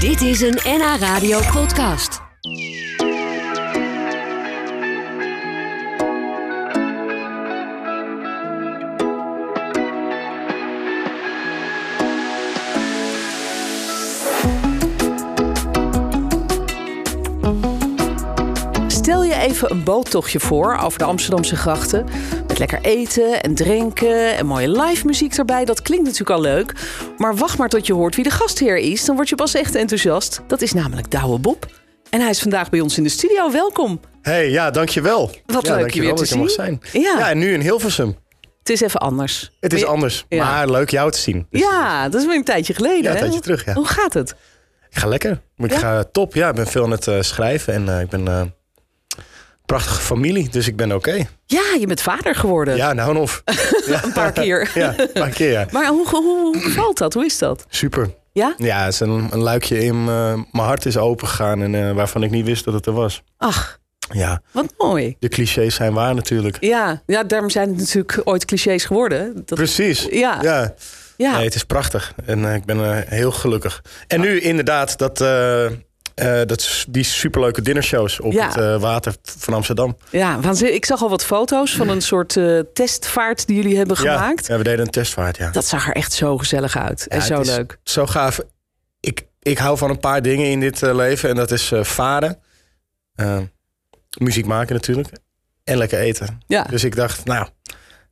Dit is een NH Radio podcast. Stel je even een boottochtje voor over de Amsterdamse grachten. Met lekker eten en drinken en mooie live muziek erbij. Dat klinkt natuurlijk al leuk. Maar wacht maar tot je hoort wie de gastheer is. Dan word je pas echt enthousiast. Dat is namelijk Douwe Bob. En hij is vandaag bij ons in de studio. Welkom. Hey, ja, dankjewel. Wat ja, leuk je dankjewel weer te dat je mag zien. zijn. Ja. Ja. en nu in Hilversum. Het is even anders. Het is Maar- anders, ja. maar leuk jou te zien. Dus Ja, dat is weer een tijdje geleden. Ja, een hè? tijdje terug, ja. Hoe gaat het? Ik ga lekker. Ik Ja? ga top. Ja, ik ben veel aan het eh, schrijven en eh, ik ben eh, een prachtige familie, dus ik ben oké. Ja, je bent vader geworden. Ja, nou en of. Een paar keer. Ja, een paar keer, ja. Maar hoe, hoe, hoe valt dat? Hoe is dat? Super. Ja? Ja, het is een, een luikje in eh, mijn hart is opengegaan en eh, waarvan ik niet wist dat het er was. Ach, Ja, wat mooi. de clichés zijn waar natuurlijk. Ja, ja daarom zijn het natuurlijk ooit clichés geworden. Dat, Precies. Ja. ja. ja. Nee, het is prachtig. En eh, ik ben eh, heel gelukkig. En nu inderdaad dat, eh, eh, dat, s- die superleuke dinnershows op Ja. het eh, water van Amsterdam. Ja, waanzin- ik zag al wat foto's van een soort eh, testvaart die jullie hebben Ja, gemaakt. Ja, we deden een testvaart, ja. Dat zag er echt zo gezellig uit en Ja, zo het is leuk. Zo gaaf. Ik, ik hou van een paar dingen in dit eh, leven. En dat is eh, varen. eh, muziek maken natuurlijk. En lekker eten. Ja. Dus ik dacht, nou,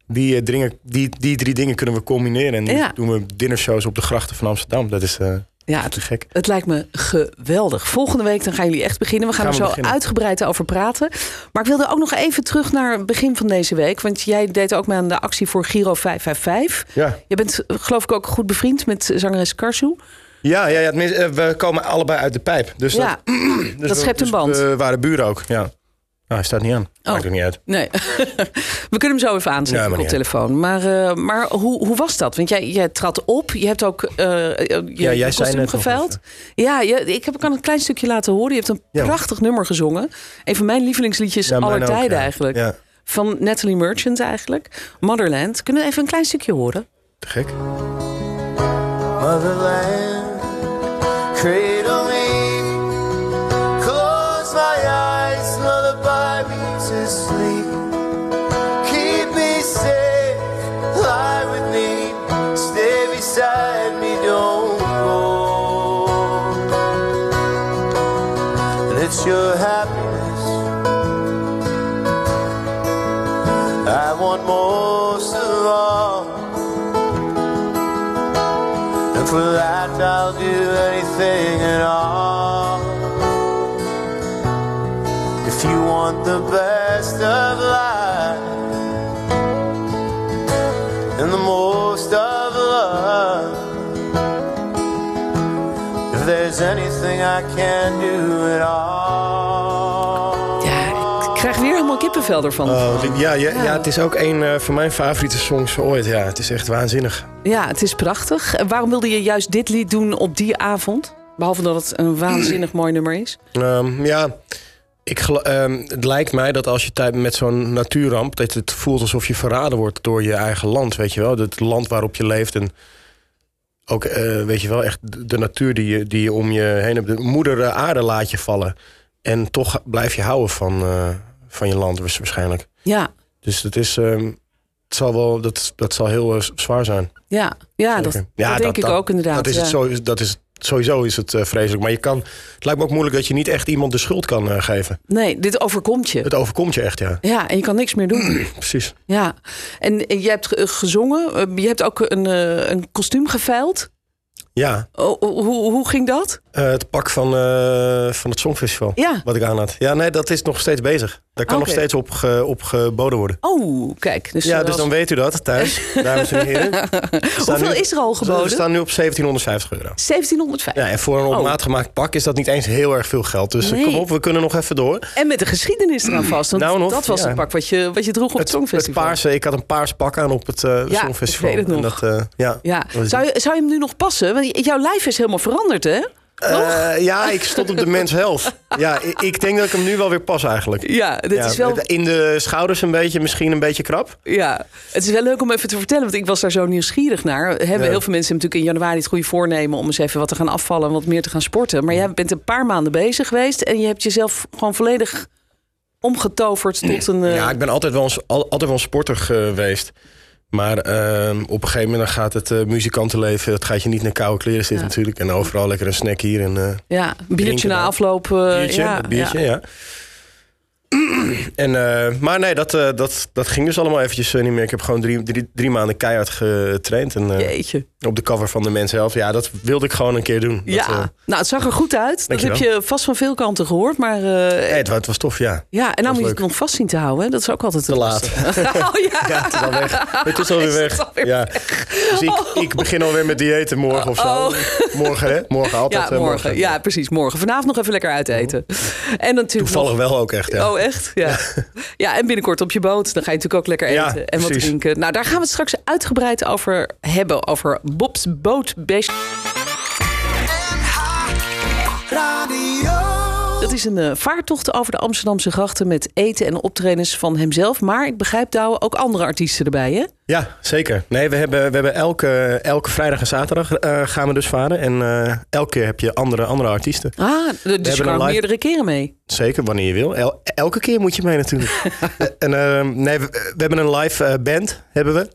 die, eh, dringen, die, die drie dingen kunnen we combineren. En nu Ja. doen we dinnershows op de grachten van Amsterdam. Dat is eh, Ja, het, te gek. het lijkt me geweldig. Volgende week dan gaan jullie echt beginnen. We gaan, Gaan er we zo beginnen. uitgebreid over praten. Maar ik wilde ook nog even terug naar het begin van deze week. Want jij deed ook mee aan de actie voor Giro 555. Ja. Je bent eh, geloof ik ook goed bevriend met zangeres Karsu. Ja, ja, ja tenminste, eh, we komen allebei uit de pijp. Dus dat, Ja, dus dat we- schept dus een band. Oh, We waren buren ook, ja. Nou, hij staat niet aan. Maakt ook niet uit. nee. We kunnen hem zo even Ja, aanzetten maar op niet telefoon. Maar, eh, maar hoe, hoe was dat? Want jij, jij trad op. Je hebt ook eh, eh, je, Ja, jij je zei kostuum net nog geveild. Ja, je, ik heb ik kan een klein stukje laten horen. Je hebt een Ja. prachtig nummer gezongen. Een van mijn lievelingsliedjes Ja, aller mijne ook, tijden ja. eigenlijk. Ja, Van Natalie Merchant eigenlijk. Motherland. Kunnen we even een klein stukje horen? te gek. Motherland, cradle me. Close my eyes, lullaby me to sleep. Keep me safe, lie with me, stay beside me, don't go. And it's your happiness. I want most of all. And for that I'll do anything at all. If you want the best of life and the most of love, if there's anything I can do at all. Ja, ik krijg weer helemaal kippenvel ervan. Oh, dit- ja, ja, ja, het is ook een eh, van mijn favoriete songs ooit. Ja, het is echt waanzinnig. Ja, het is prachtig. En Waarom wilde je juist dit lied doen op die avond? Behalve dat het een waanzinnig mooi nummer is. Ehm, ja, ik, gelo- ehm, het lijkt mij dat als je tijd met zo'n natuurramp... dat het voelt alsof je verraden wordt door je eigen land, weet je wel. Het land waarop je leeft en ook, eh, weet je wel, echt de de natuur die je, die je om je heen hebt. De moeder eh, aarde laat je vallen. En toch blijf je houden van, eh, van je land waarsch- waarschijnlijk. Ja, Dus dat is... ehm, het zal wel, dat, dat zal heel eh, zwaar zijn. ja, ja, dat, Zeker. dat denk ik ook inderdaad. Dat is het ja. eh, zo, dat is, sowieso is het eh, vreselijk. Maar je kan, het lijkt me ook moeilijk dat je niet echt iemand de schuld kan eh, geven. Nee, dit overkomt je. Het overkomt je echt, ja. Ja, en je kan niks meer doen. Precies. Ja, en eh, je hebt ge- eh, gezongen. eh, Je hebt ook een, eh, een kostuum geveild. Ja, Oh, hoe, hoe ging dat? eh, het pak van, eh, van het Songfestival. Ja. Wat ik aan had. Ja, nee, dat is nog steeds bezig. Daar kan Oké. nog steeds op, ge- op geboden worden. Oh, kijk. Dus Ja, er dus was- dan weet u dat thuis, dames en heren. Hoeveel is er al We geboden? staan nu op 1750 euro. 1705. Ja, en voor een op maat gemaakt pak is dat niet eens heel erg veel geld. Dus eh, Nee. kom op, we kunnen nog even door. En met de geschiedenis eraan vast. Want Nou, nog, dat was ja. het pak wat je, wat je droeg op het, Het, het Songfestival. paarse, ik had een paars pak aan op het eh Ja, Songfestival. ik weet het nog. En dat, eh, ja, Ja, Dat was- zou je, zou je hem nu nog passen? Want j- jouw lijf is helemaal veranderd, hè? Eh, ja, ik stond op de Men's Health. Ja, ik, ik denk dat ik hem nu wel weer pas eigenlijk. Ja, dit Ja, is wel, In de schouders een beetje, misschien een beetje krap. ja, het is wel leuk om even te vertellen, want ik was daar zo nieuwsgierig naar. Hebben Ja. heel veel mensen natuurlijk in januari het goede voornemen om eens even wat te gaan afvallen en wat meer te gaan sporten. Maar jij bent een paar maanden bezig geweest en je hebt jezelf gewoon volledig omgetoverd tot een. eh, Ja, ik ben altijd wel een, al- altijd wel een sporter geweest. Maar ehm, op een gegeven moment dan gaat het eh, muzikantenleven... dat gaat je niet naar koude kleren zitten Ja. natuurlijk. En overal lekker een snack hier en eh ja, een biertje drinken na dan. afloop. eh, biertje. ja, dat biertje ja. en, eh, maar nee, dat, eh, dat, dat ging dus allemaal eventjes eh, niet meer. Ik heb gewoon drie, drie, drie maanden keihard getraind. En, eh, ja. Jeetje. op de cover van de mens zelf. Ja, dat wilde ik gewoon een keer doen. Dat, ja, eh, nou, het zag er goed uit. Dat heb Dankjewel. je vast van veel kanten gehoord. Maar eh, nee, het, wa- het was tof, ja. ja, en nou moet je het leuk. nog vast zien te houden. Hè? Dat is ook altijd Te het laat. lastige. Oh ja. Ja, het is al weg. Het is alweer Is het weg. alweer ja. Dus ik, ik begin alweer met diëten morgen of zo. Oh. Morgen, hè? Morgen altijd. Ja, hè? morgen. Ja, precies. Morgen. Vanavond nog even lekker uiteten. En natuurlijk. Toevallig wel ook echt, ja. nog- Oh, echt? Ja. ja, en binnenkort op je boot. Dan ga je natuurlijk ook lekker eten Ja, en wat precies. drinken. Nou, daar gaan we het straks uitgebreid over hebben. Over Bob's bootbash. Dat is een eh, vaartocht over de Amsterdamse grachten met eten en optredens van hemzelf. Maar ik begrijp, Douwe, ook andere artiesten erbij, hè? Ja, zeker. Nee, we hebben, we hebben elke, elke vrijdag en zaterdag eh, gaan we dus varen. En eh, elke keer heb je andere, andere artiesten. Ah, dus je hebben kan een live- meerdere keren mee. Zeker, wanneer je wil. El- elke keer moet je mee natuurlijk. en, eh, nee, we, we hebben een live eh, band, hebben we.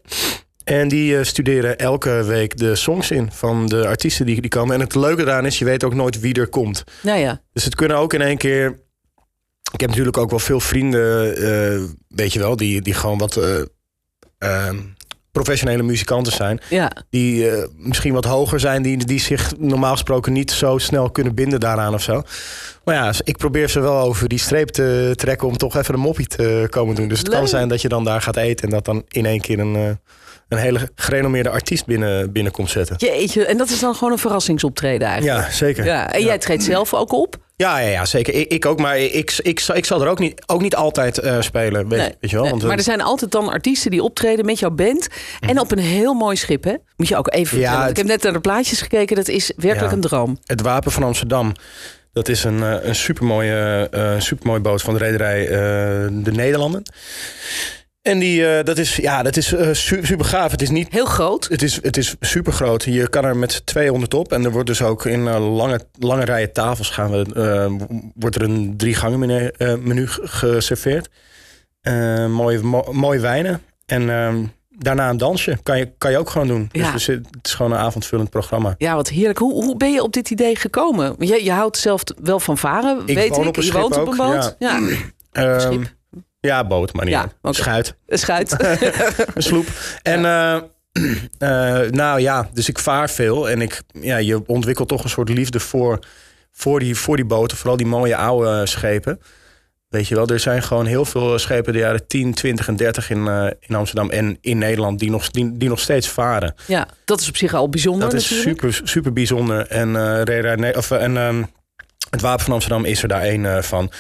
En die eh, studeren elke week de songs in van de artiesten die, die komen. En het leuke daaraan is, je weet ook nooit wie er komt. Nou ja. Dus het kunnen ook in één keer... Ik heb natuurlijk ook wel veel vrienden, eh, weet je wel, die, die gewoon wat eh, ehm, professionele muzikanten zijn. ja. Die eh, misschien wat hoger zijn, die, die zich normaal gesproken niet zo snel kunnen binden daaraan of zo. Maar ja, ik probeer ze wel over die streep te trekken om toch even een moppie te komen doen. Dus het Leuk. kan zijn dat je dan daar gaat eten en dat dan in één keer een, eh, een hele gerenommeerde artiest binnen, binnen komt zetten. Jeetje, en dat is dan gewoon een verrassingsoptreden eigenlijk. Ja, zeker. Ja, en jij treedt zelf ook op. Ja, ja, ja zeker. Ik, ik ook, maar ik, ik, ik, zal- ik zal er ook niet, ook niet altijd eh, spelen. Weet, Nee, weet je wel? nee, Want, maar eh, er zijn altijd dan artiesten die optreden met jouw band. En op een heel mooi schip, hè? Moet je ook even vertellen. want Ik het- heb net naar de plaatjes gekeken. Dat is werkelijk Ja. een droom. Het Wapen van Amsterdam. Dat is een, eh, een supermooie, eh supermooie boot van de rederij eh, De Nederlanden. En die, eh, dat is, ja, dat is eh, super gaaf. Het is niet Heel groot. Het is, het is super groot. Je kan er met z'n 200 op. En er wordt dus ook in eh, lange, lange rijen tafels gaan we, eh, wordt er een drie gangen menu, eh, menu ge- geserveerd. Eh, mooie, mo- mooie wijnen. En ehm, daarna een dansje. Kan je, kan je ook gewoon doen. Ja. Dus, dus het is gewoon een avondvullend programma. Ja, wat heerlijk. Hoe, hoe ben je op dit idee gekomen? Want Je, je houdt zelf t- wel van varen, Ik weet woon ik. op een je schip woont op ook, een boot. Ja, Ehm, Schip? ja, boot, maar niet. Ja, uit. oké. Schuit, een schuit. een sloep. En eh, eh, nou ja, dus ik vaar veel. En ik, ja, je ontwikkelt toch een soort liefde voor, voor, die, voor die boten. Vooral die mooie oude eh, schepen. Weet je wel, er zijn gewoon heel veel schepen de jaren 10, 20 en 30 in, eh, in Amsterdam en in Nederland die nog, die, die nog steeds varen. ja, dat is op zich al bijzonder Dat is natuurlijk. super, super bijzonder. En, eh, Reda- nee, of, eh, en ehm, het Wapen van Amsterdam is er daar één eh, van.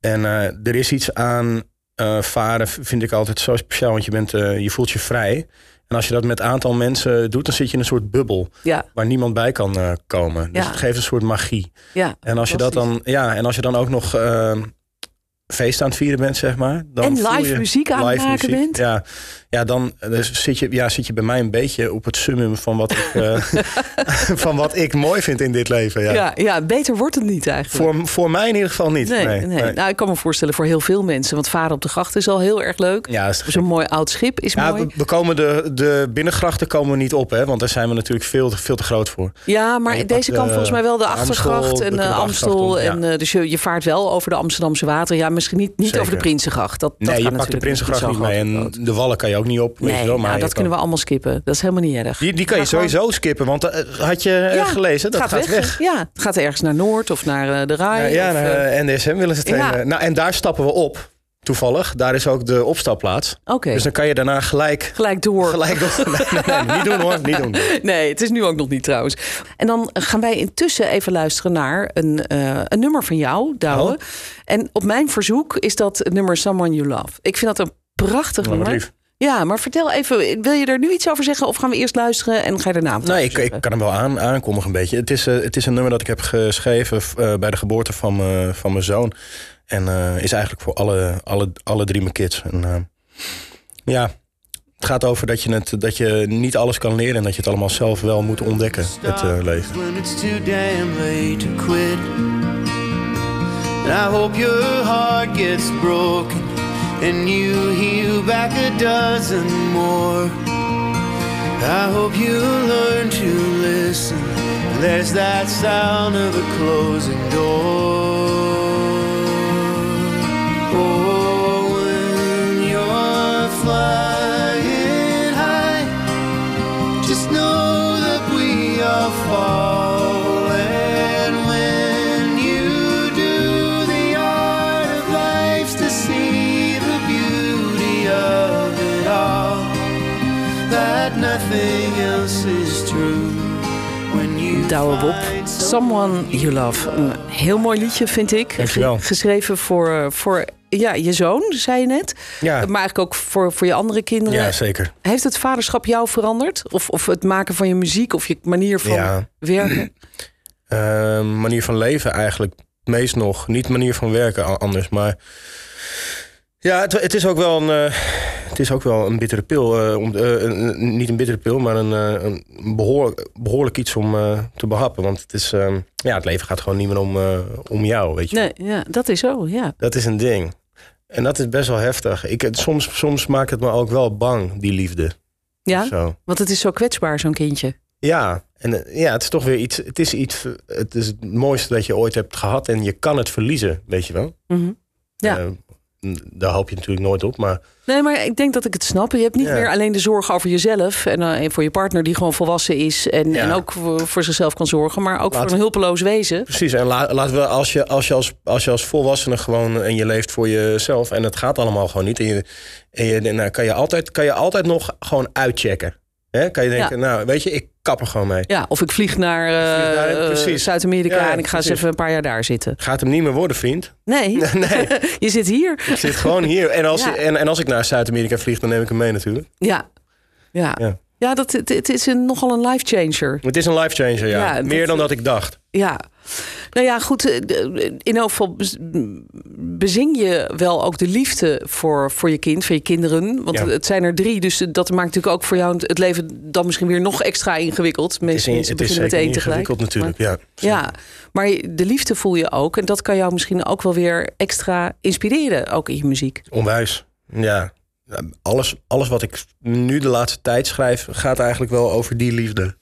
En eh, er is iets aan eh, varen, v- vind ik altijd zo speciaal. Want je, bent, eh, je voelt je vrij. En als je dat met een aantal mensen doet, dan zit je in een soort bubbel. Ja, Waar niemand bij kan eh, komen. Dus Ja. het geeft een soort magie. ja. En als je dat dan, ja, en als je dan ook nog ehm, feest aan het vieren bent, zeg maar. Dan En voel live je- muziek aan het live maken muziek, bent. Ja, ja dan eh, dus zit, je, ja, zit je bij mij een beetje op het summum van wat ik, eh, van wat ik mooi vind in dit leven. Ja. Ja. Ja, beter wordt het niet eigenlijk. Voor, voor mij in ieder geval niet. Nee, Nee, nee, nee. Nou, ik kan me voorstellen voor heel veel mensen. Want varen op de gracht is al heel erg leuk. Ja, is te Zo'n mooi oud schip is ja, mooi. we, we komen de, de binnengrachten komen we niet op, hè? want daar zijn we natuurlijk veel te, veel te groot voor. Ja, maar En je deze pakt, kan eh, volgens mij wel de de Amstel, achtergracht we en kunnen eh, de Amstel. achtergracht en, doen, eh, dus je, je vaart wel over de Amsterdamse water. Ja, misschien niet, niet Zeker. over de Prinsengracht. Dat, dat nee, je kan pakt de natuurlijk Prinsengracht niet zo'n mee grote en boot. de wallen kan je ook niet op. weet Nee, je wel, maar nou, dat je kan- kunnen we allemaal skippen. Dat is helemaal niet erg. Die, die kan je Maar gewoon- sowieso skippen, want eh, had je eh, Ja, gelezen, het dat gaat, weg. Ja, het gaat ergens naar Noord of naar eh, de Rai. Nou, ja, of, eh, naar, eh, NDSM willen ze het ja. heen. Eh, Nou, en daar stappen we op, toevallig. Daar is ook de opstapplaats. Oh, eh, Oké, Dus dan kan je daarna gelijk... gelijk door. gelijk door. Nee, nee, nee, niet doen hoor, niet doen. Nee, het is nu ook nog niet trouwens. En dan gaan wij intussen even luisteren naar een, eh, een nummer van jou, Douwe. Oh. En op mijn verzoek is dat het nummer Someone You Love. Ik vind dat een prachtig Oh, wat nummer. lief. Ja, maar vertel even, wil je er nu iets over zeggen of gaan we eerst luisteren en ga je daarna? wat Nee, over ik, zeggen? ik kan hem wel aan, aankondigen een beetje. Het is, eh, het is een nummer dat ik heb geschreven f- eh, bij de geboorte van, me- van mijn zoon. En eh, is eigenlijk voor alle, alle, alle drie mijn kids. En, eh, ja, het gaat over dat je, het, dat je niet alles kan leren... en dat je het allemaal zelf wel moet ontdekken, het eh, leven. When it's too damn late to quit. And I hope your heart gets broken and you heal back a dozen more. I hope you learn to listen. There's that sound of a closing door. Oh, when you're flying high. Just know that we are falling when you do the art of life to see the beauty of it all. That nothing else is true when you Douwe Bob, find Someone You Love. Een heel mooi liedje, vind ik. Dankjewel. Ge- Geschreven voor, eh, voor ja, je zoon, zei je net. Ja, Maar eigenlijk ook voor, voor je andere kinderen. ja zeker. Heeft het vaderschap jou veranderd? Of, of het maken van je muziek of je manier van Ja. werken? Eh, manier van leven eigenlijk meest nog. Niet manier van werken a- anders, maar... Ja, het, het is ook wel een... eh, het is ook wel een bittere pil. eh, om, eh, een- een- niet een bittere pil, maar een, eh, een behoorlijk, behoorlijk iets om eh, te behappen. Want het, is, eh, ja, het leven gaat gewoon niet meer om, eh, om jou, weet je. Nee, ja, dat is zo, ja. Dat is een ding. En dat is best wel heftig. Ik, het- soms, soms maakt het me ook wel bang, die liefde. Ja, Zo. want het is zo kwetsbaar, zo'n kindje. Ja, en eh, ja, het is toch weer iets. Het is iets. Het is het mooiste dat je ooit hebt gehad. En je kan het verliezen, weet je wel. Mhm. Ja. Eh, n- daar hoop je natuurlijk nooit op. Maar Nee, maar ik denk dat ik het snap. Je hebt niet Ja. meer alleen de zorg over jezelf en, eh, en voor je partner die gewoon volwassen is en, Ja. en ook voor, voor zichzelf kan zorgen, maar ook Laat- voor een hulpeloos wezen. precies. En la- laten we, als je als, je als, als je als volwassene gewoon. en je leeft voor jezelf. en het gaat allemaal gewoon niet. en, je, en, je, en dan kan, je altijd, kan je altijd nog gewoon uitchecken. Hè? Kan je denken, nou weet je, ik kap er gewoon mee. Ja, of ik vlieg naar, eh, vlieg naar- eh, precies. Zuid-Amerika Ja, en ik ga eens precies. even een paar jaar daar zitten. Gaat hem niet meer worden, vriend. Nee, Nee. je zit hier. Ik zit gewoon hier. En als, Ja. en, en als ik naar Zuid-Amerika vlieg, dan neem ik hem mee natuurlijk. Ja, ja. ja. Ja. dat, het, het is een, nogal een life changer. Het is een life changer, ja. Ja, Meer dat- dan dat ik dacht. Ja. Nou ja, goed. eh, de- In elk geval bez- bezing je wel ook de liefde voor, voor je kind, voor je kinderen. Want Ja. het zijn er drie, dus dat maakt natuurlijk ook voor jou het leven dan misschien weer nog extra ingewikkeld. Mensen, in- mensen beginnen met zeker één tegelijk. ingewikkeld natuurlijk, ja. Maar, ja, maar de liefde voel je ook. En dat kan jou misschien ook wel weer extra inspireren, ook in je muziek. Onwijs. Ja. Nou, Alles, alles wat ik nu de laatste tijd schrijf, gaat eigenlijk wel over die liefde.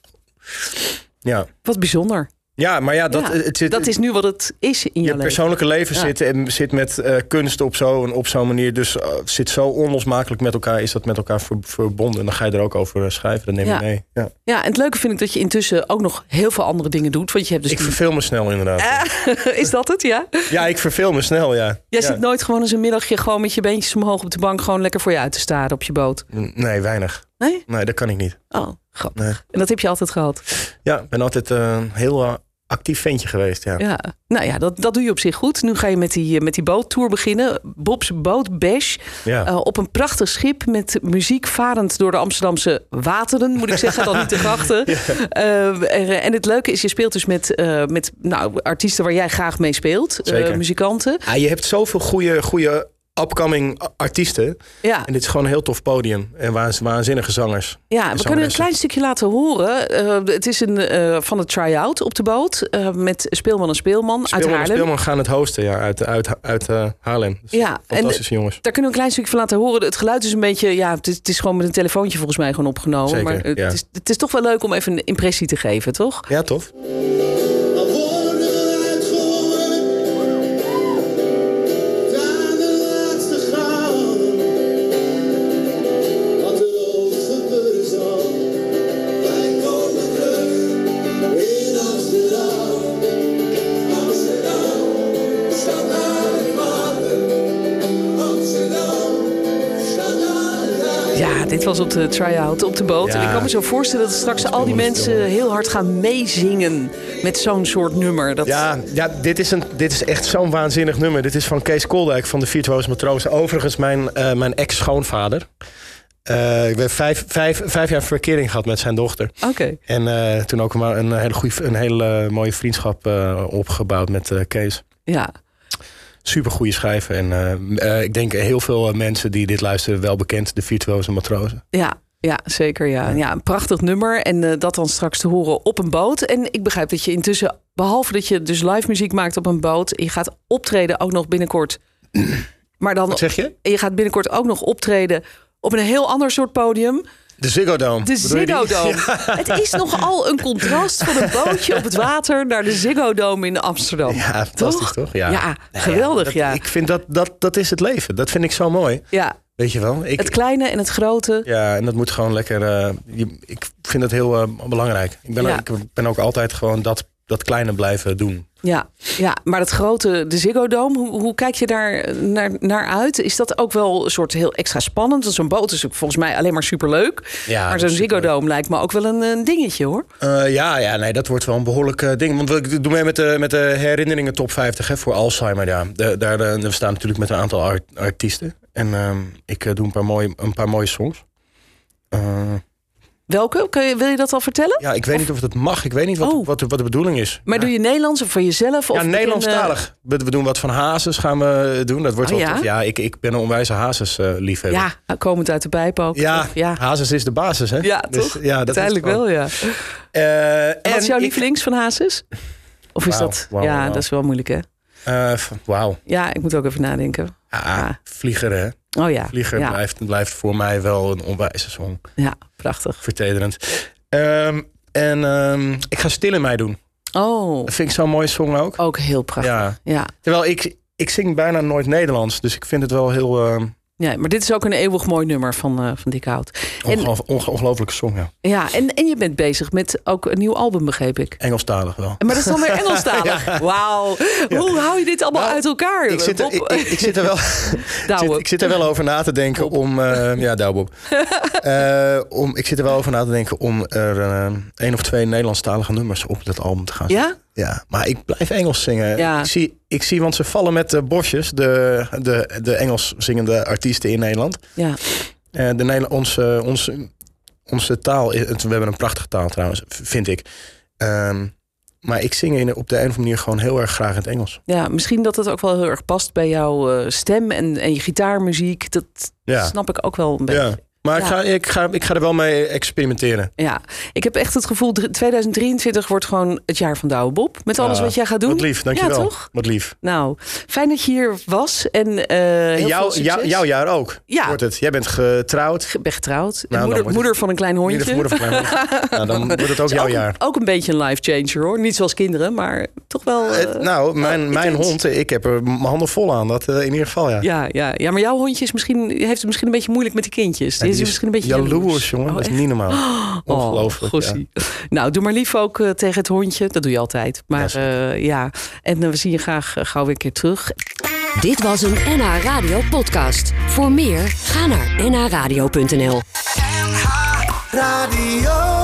Ja, Wat bijzonder. ja maar ja, dat, Ja, het zit, dat is nu wat het is in je jouw leven. persoonlijke leven Ja. zit, en zit met eh, kunst op zo'n op zo'n manier. Dus eh, zit zo onlosmakelijk met elkaar, is dat met elkaar ver- verbonden. En dan ga je er ook over eh, schrijven, dat neem je Ja. mee. Ja. Ja, en het leuke vind ik dat je intussen ook nog heel veel andere dingen doet. Want je hebt dus... Ik verveel me snel inderdaad. Is dat het, ja? Ja, ik verveel me snel, ja. Jij Ja. zit nooit gewoon eens een middagje gewoon met je beentjes omhoog op de bank... gewoon lekker voor je uit te staren op je boot. Nee, weinig. Nee? Nee, dat kan ik niet. Oh, grappig. Nee. En dat heb je altijd gehad. Ja, ik ben altijd eh, een heel eh, actief ventje geweest. Ja. Ja. Nou ja, dat, dat doe je op zich goed. Nu ga je met die, eh, met die boottour beginnen. Bob's Boot Bash. Ja. Eh, op een prachtig schip met muziek varend door de Amsterdamse wateren, moet ik zeggen, dan niet de grachten. Eh, er- en het leuke is, je speelt dus met, eh, met nou, artiesten waar jij graag mee speelt, eh, Zeker. muzikanten. Ah, je hebt zoveel goede, goede upcoming a- artiesten. Ja, En dit is gewoon een heel tof podium. En waanz- waanzinnige zangers. ja we kunnen een zangeressen. klein stukje laten horen. Eh, het is een, eh, van de try-out op de boot eh, met speelman en speelman, uit Speelman en Haarlem. Speelman gaan het hosten ja, uit, uit, uit eh, Haarlem. Dus Ja, en Fantastische jongens. Daar kunnen we een klein stukje van laten horen. Het geluid is een beetje, ja, het is, het is gewoon met een telefoontje volgens mij gewoon opgenomen. Zeker, maar eh, ja. het, is, het is toch wel leuk om even een impressie te geven, toch? Ja, tof. A wonderful light for Daar de laatste gaan. Wat er ook gebeuren zal. Wij komen terug in Amsterdam. Amsterdam, stad aan het water. Amsterdam, stad aan het water. Ja, dit was op de try-out op de boot. Ja. En ik kan me zo voorstellen dat straks al die mensen heel hard gaan meezingen met zo'n soort nummer. Dat, Ja, ja dit, is een, dit is echt zo'n waanzinnig nummer. Dit is van Kees Koldijk van de Virtuoos Matroos. Overigens mijn, eh, mijn ex-schoonvader. Eh, ik ben vijf, vijf, vijf jaar verkering gehad met zijn dochter. Oké. En eh, toen ook maar een hele, goede, een hele mooie vriendschap eh, opgebouwd met eh, Kees. Ja. Super goede schrijver. En eh, eh, ik denk heel veel eh, mensen die dit luisteren wel bekend. De virtuoze matrozen. Ja. Ja, zeker ja. ja. Een prachtig nummer en eh, dat dan straks te horen op een boot. En ik begrijp dat je intussen, behalve dat je dus live muziek maakt op een boot... je gaat optreden ook nog binnenkort. Maar dan, Wat zeg je? je gaat binnenkort ook nog optreden op een heel ander soort podium. De Ziggo Dome. De Bedoel je die? Ziggo Dome. Het is nogal een contrast van een bootje op het water... naar de Ziggo Dome in Amsterdam. Ja, fantastisch toch? Ja, Ja. geweldig ja. Dat- Ik vind dat, dat, dat is het leven. Dat vind ik zo mooi. ja. Weet je wel? Ik, Het kleine en het grote. Ja, en dat moet gewoon lekker. eh, je- ik vind dat heel eh, belangrijk. Ik ben, Ja. ook, ik ben ook altijd gewoon dat, dat kleine blijven doen. Ja, ja, maar dat grote, de Ziggo Dome, hoe, hoe kijk je daar eh, naar, naar uit? Is dat ook wel een soort heel extra spannend? Want zo'n boot is ook volgens mij alleen maar superleuk. Ja, maar dat zo'n is Ziggo superleuk. Dome lijkt me ook wel een, een dingetje hoor. Eh, ja, ja, nee, dat wordt wel een behoorlijk eh, ding. Want ik doe mee met de, met de herinneringen top 50 hè, voor Alzheimer. Ja. De- daar, eh, we staan natuurlijk met een aantal art- artiesten. En ehm, ik eh, doe een paar mooie, een paar mooie songs. Eh, Welke? Kun je, wil je dat al vertellen? ja, ik weet niet of dat mag. Ik weet niet wat, Oh. wat, de- wat de bedoeling is. Maar doe je Nederlands of voor jezelf? Of Ja, in, eh, Nederlandstalig. We, we doen wat van hazes gaan we eh, doen. Dat wordt Oh, wel ja? tof. Ja, ik, ik ben een onwijze hazes eh, liefhebber. ja, komend uit de pijp ook. Ja, toch? ja. Hazes is de basis, hè? Ja, Dus, toch? ja, dat is Uiteindelijk gewoon- wel, ja. Eh, en Wat is jouw ik- lievelings van Hazes? Of is Wauw, dat? wauw, ja, wauw. dat is wel moeilijk, hè? eh, f- Wauw. Ja, ik moet ook even nadenken. Ah, Ja. Vlieger, hè? Oh ja. Vlieger ja, blijft, blijft voor mij wel een onwijze song. ja, prachtig. Vertederend. Ehm, en ehm, ik ga Stil in mij doen. Oh, Dat vind ik zo'n mooie song ook. ook heel prachtig. Ja. Ja. Terwijl ik, ik zing bijna nooit Nederlands. Dus ik vind het wel heel ehm, ja, maar dit is ook een eeuwig mooi nummer van, eh van Dick Hout. En, ongeloof- onge- ongelofelijke song, ja. ja, en, en je bent bezig met ook een nieuw album, begreep ik. Engelstalig wel. Maar dat is dan weer Engelstalig. Wauw. Hoe hou je dit allemaal Nou, uit elkaar? Nou, eh, Ik zit, er, Bob? ik, ik, ik zit er wel, ik Douwe. zit, ik zit er wel over na te denken om. eh, ja, douwe Bob. Eh, om, ik zit er wel over na te denken om er eh, één of twee Nederlandstalige nummers op dat album te gaan. Ja? zetten. ja maar ik blijf Engels zingen. Ja. Ik, zie, ik zie, want ze vallen met de bosjes, de, de, de Engels zingende artiesten in Nederland. Ja. Eh, de Nederla- onze, onze, onze taal, is- het- we hebben een prachtige taal trouwens, v- vind ik. Ehm, maar ik zing in, op de een of andere manier gewoon heel erg graag in het Engels. ja, misschien dat dat ook wel heel erg past bij jouw eh, stem en, en je gitaarmuziek. Dat Ja. snap ik ook wel een beetje. Ja. Maar Ik, Ja. ga, ik, ga, ik ga er wel mee experimenteren. Ja, ik heb echt het gevoel, dr- 2023 wordt gewoon het jaar van Douwe Bob. Met alles Ja, wat jij gaat doen. Wat lief, dankjewel. Ja, toch? Wat lief. Nou, fijn dat je hier was. En eh heel En veel jou, succes. jou- jouw jaar ook, Ja. wordt het. Jij bent getrouwd. Ik ben getrouwd. En Nou, dan moeder, wordt het- moeder van een klein hondje. Moeder, moeder van mijn moeder. nou, dan wordt het ook jouw ook, jaar. Ook een beetje een life changer hoor. Niet zoals kinderen, maar toch wel. eh, Eh, nou, mijn, mijn intens. hond, eh, ik heb er mijn handen vol aan. Dat eh, in ieder geval, ja. ja, ja, ja, maar jouw hondje is misschien, heeft het misschien een beetje moeilijk met de kindjes. Die En is, die is misschien een beetje jaloers, jongen. Oh, dat is echt? niet normaal. Oh, Ongelooflijk. ja. gossie. Nou, doe maar lief ook eh, tegen het hondje. Dat doe je altijd. Maar Ja, ja, ja. en eh, we zien je graag eh, gauw weer een keer terug. Dit was een NH Radio podcast. Voor meer, ga naar nhradio.nl. Radio.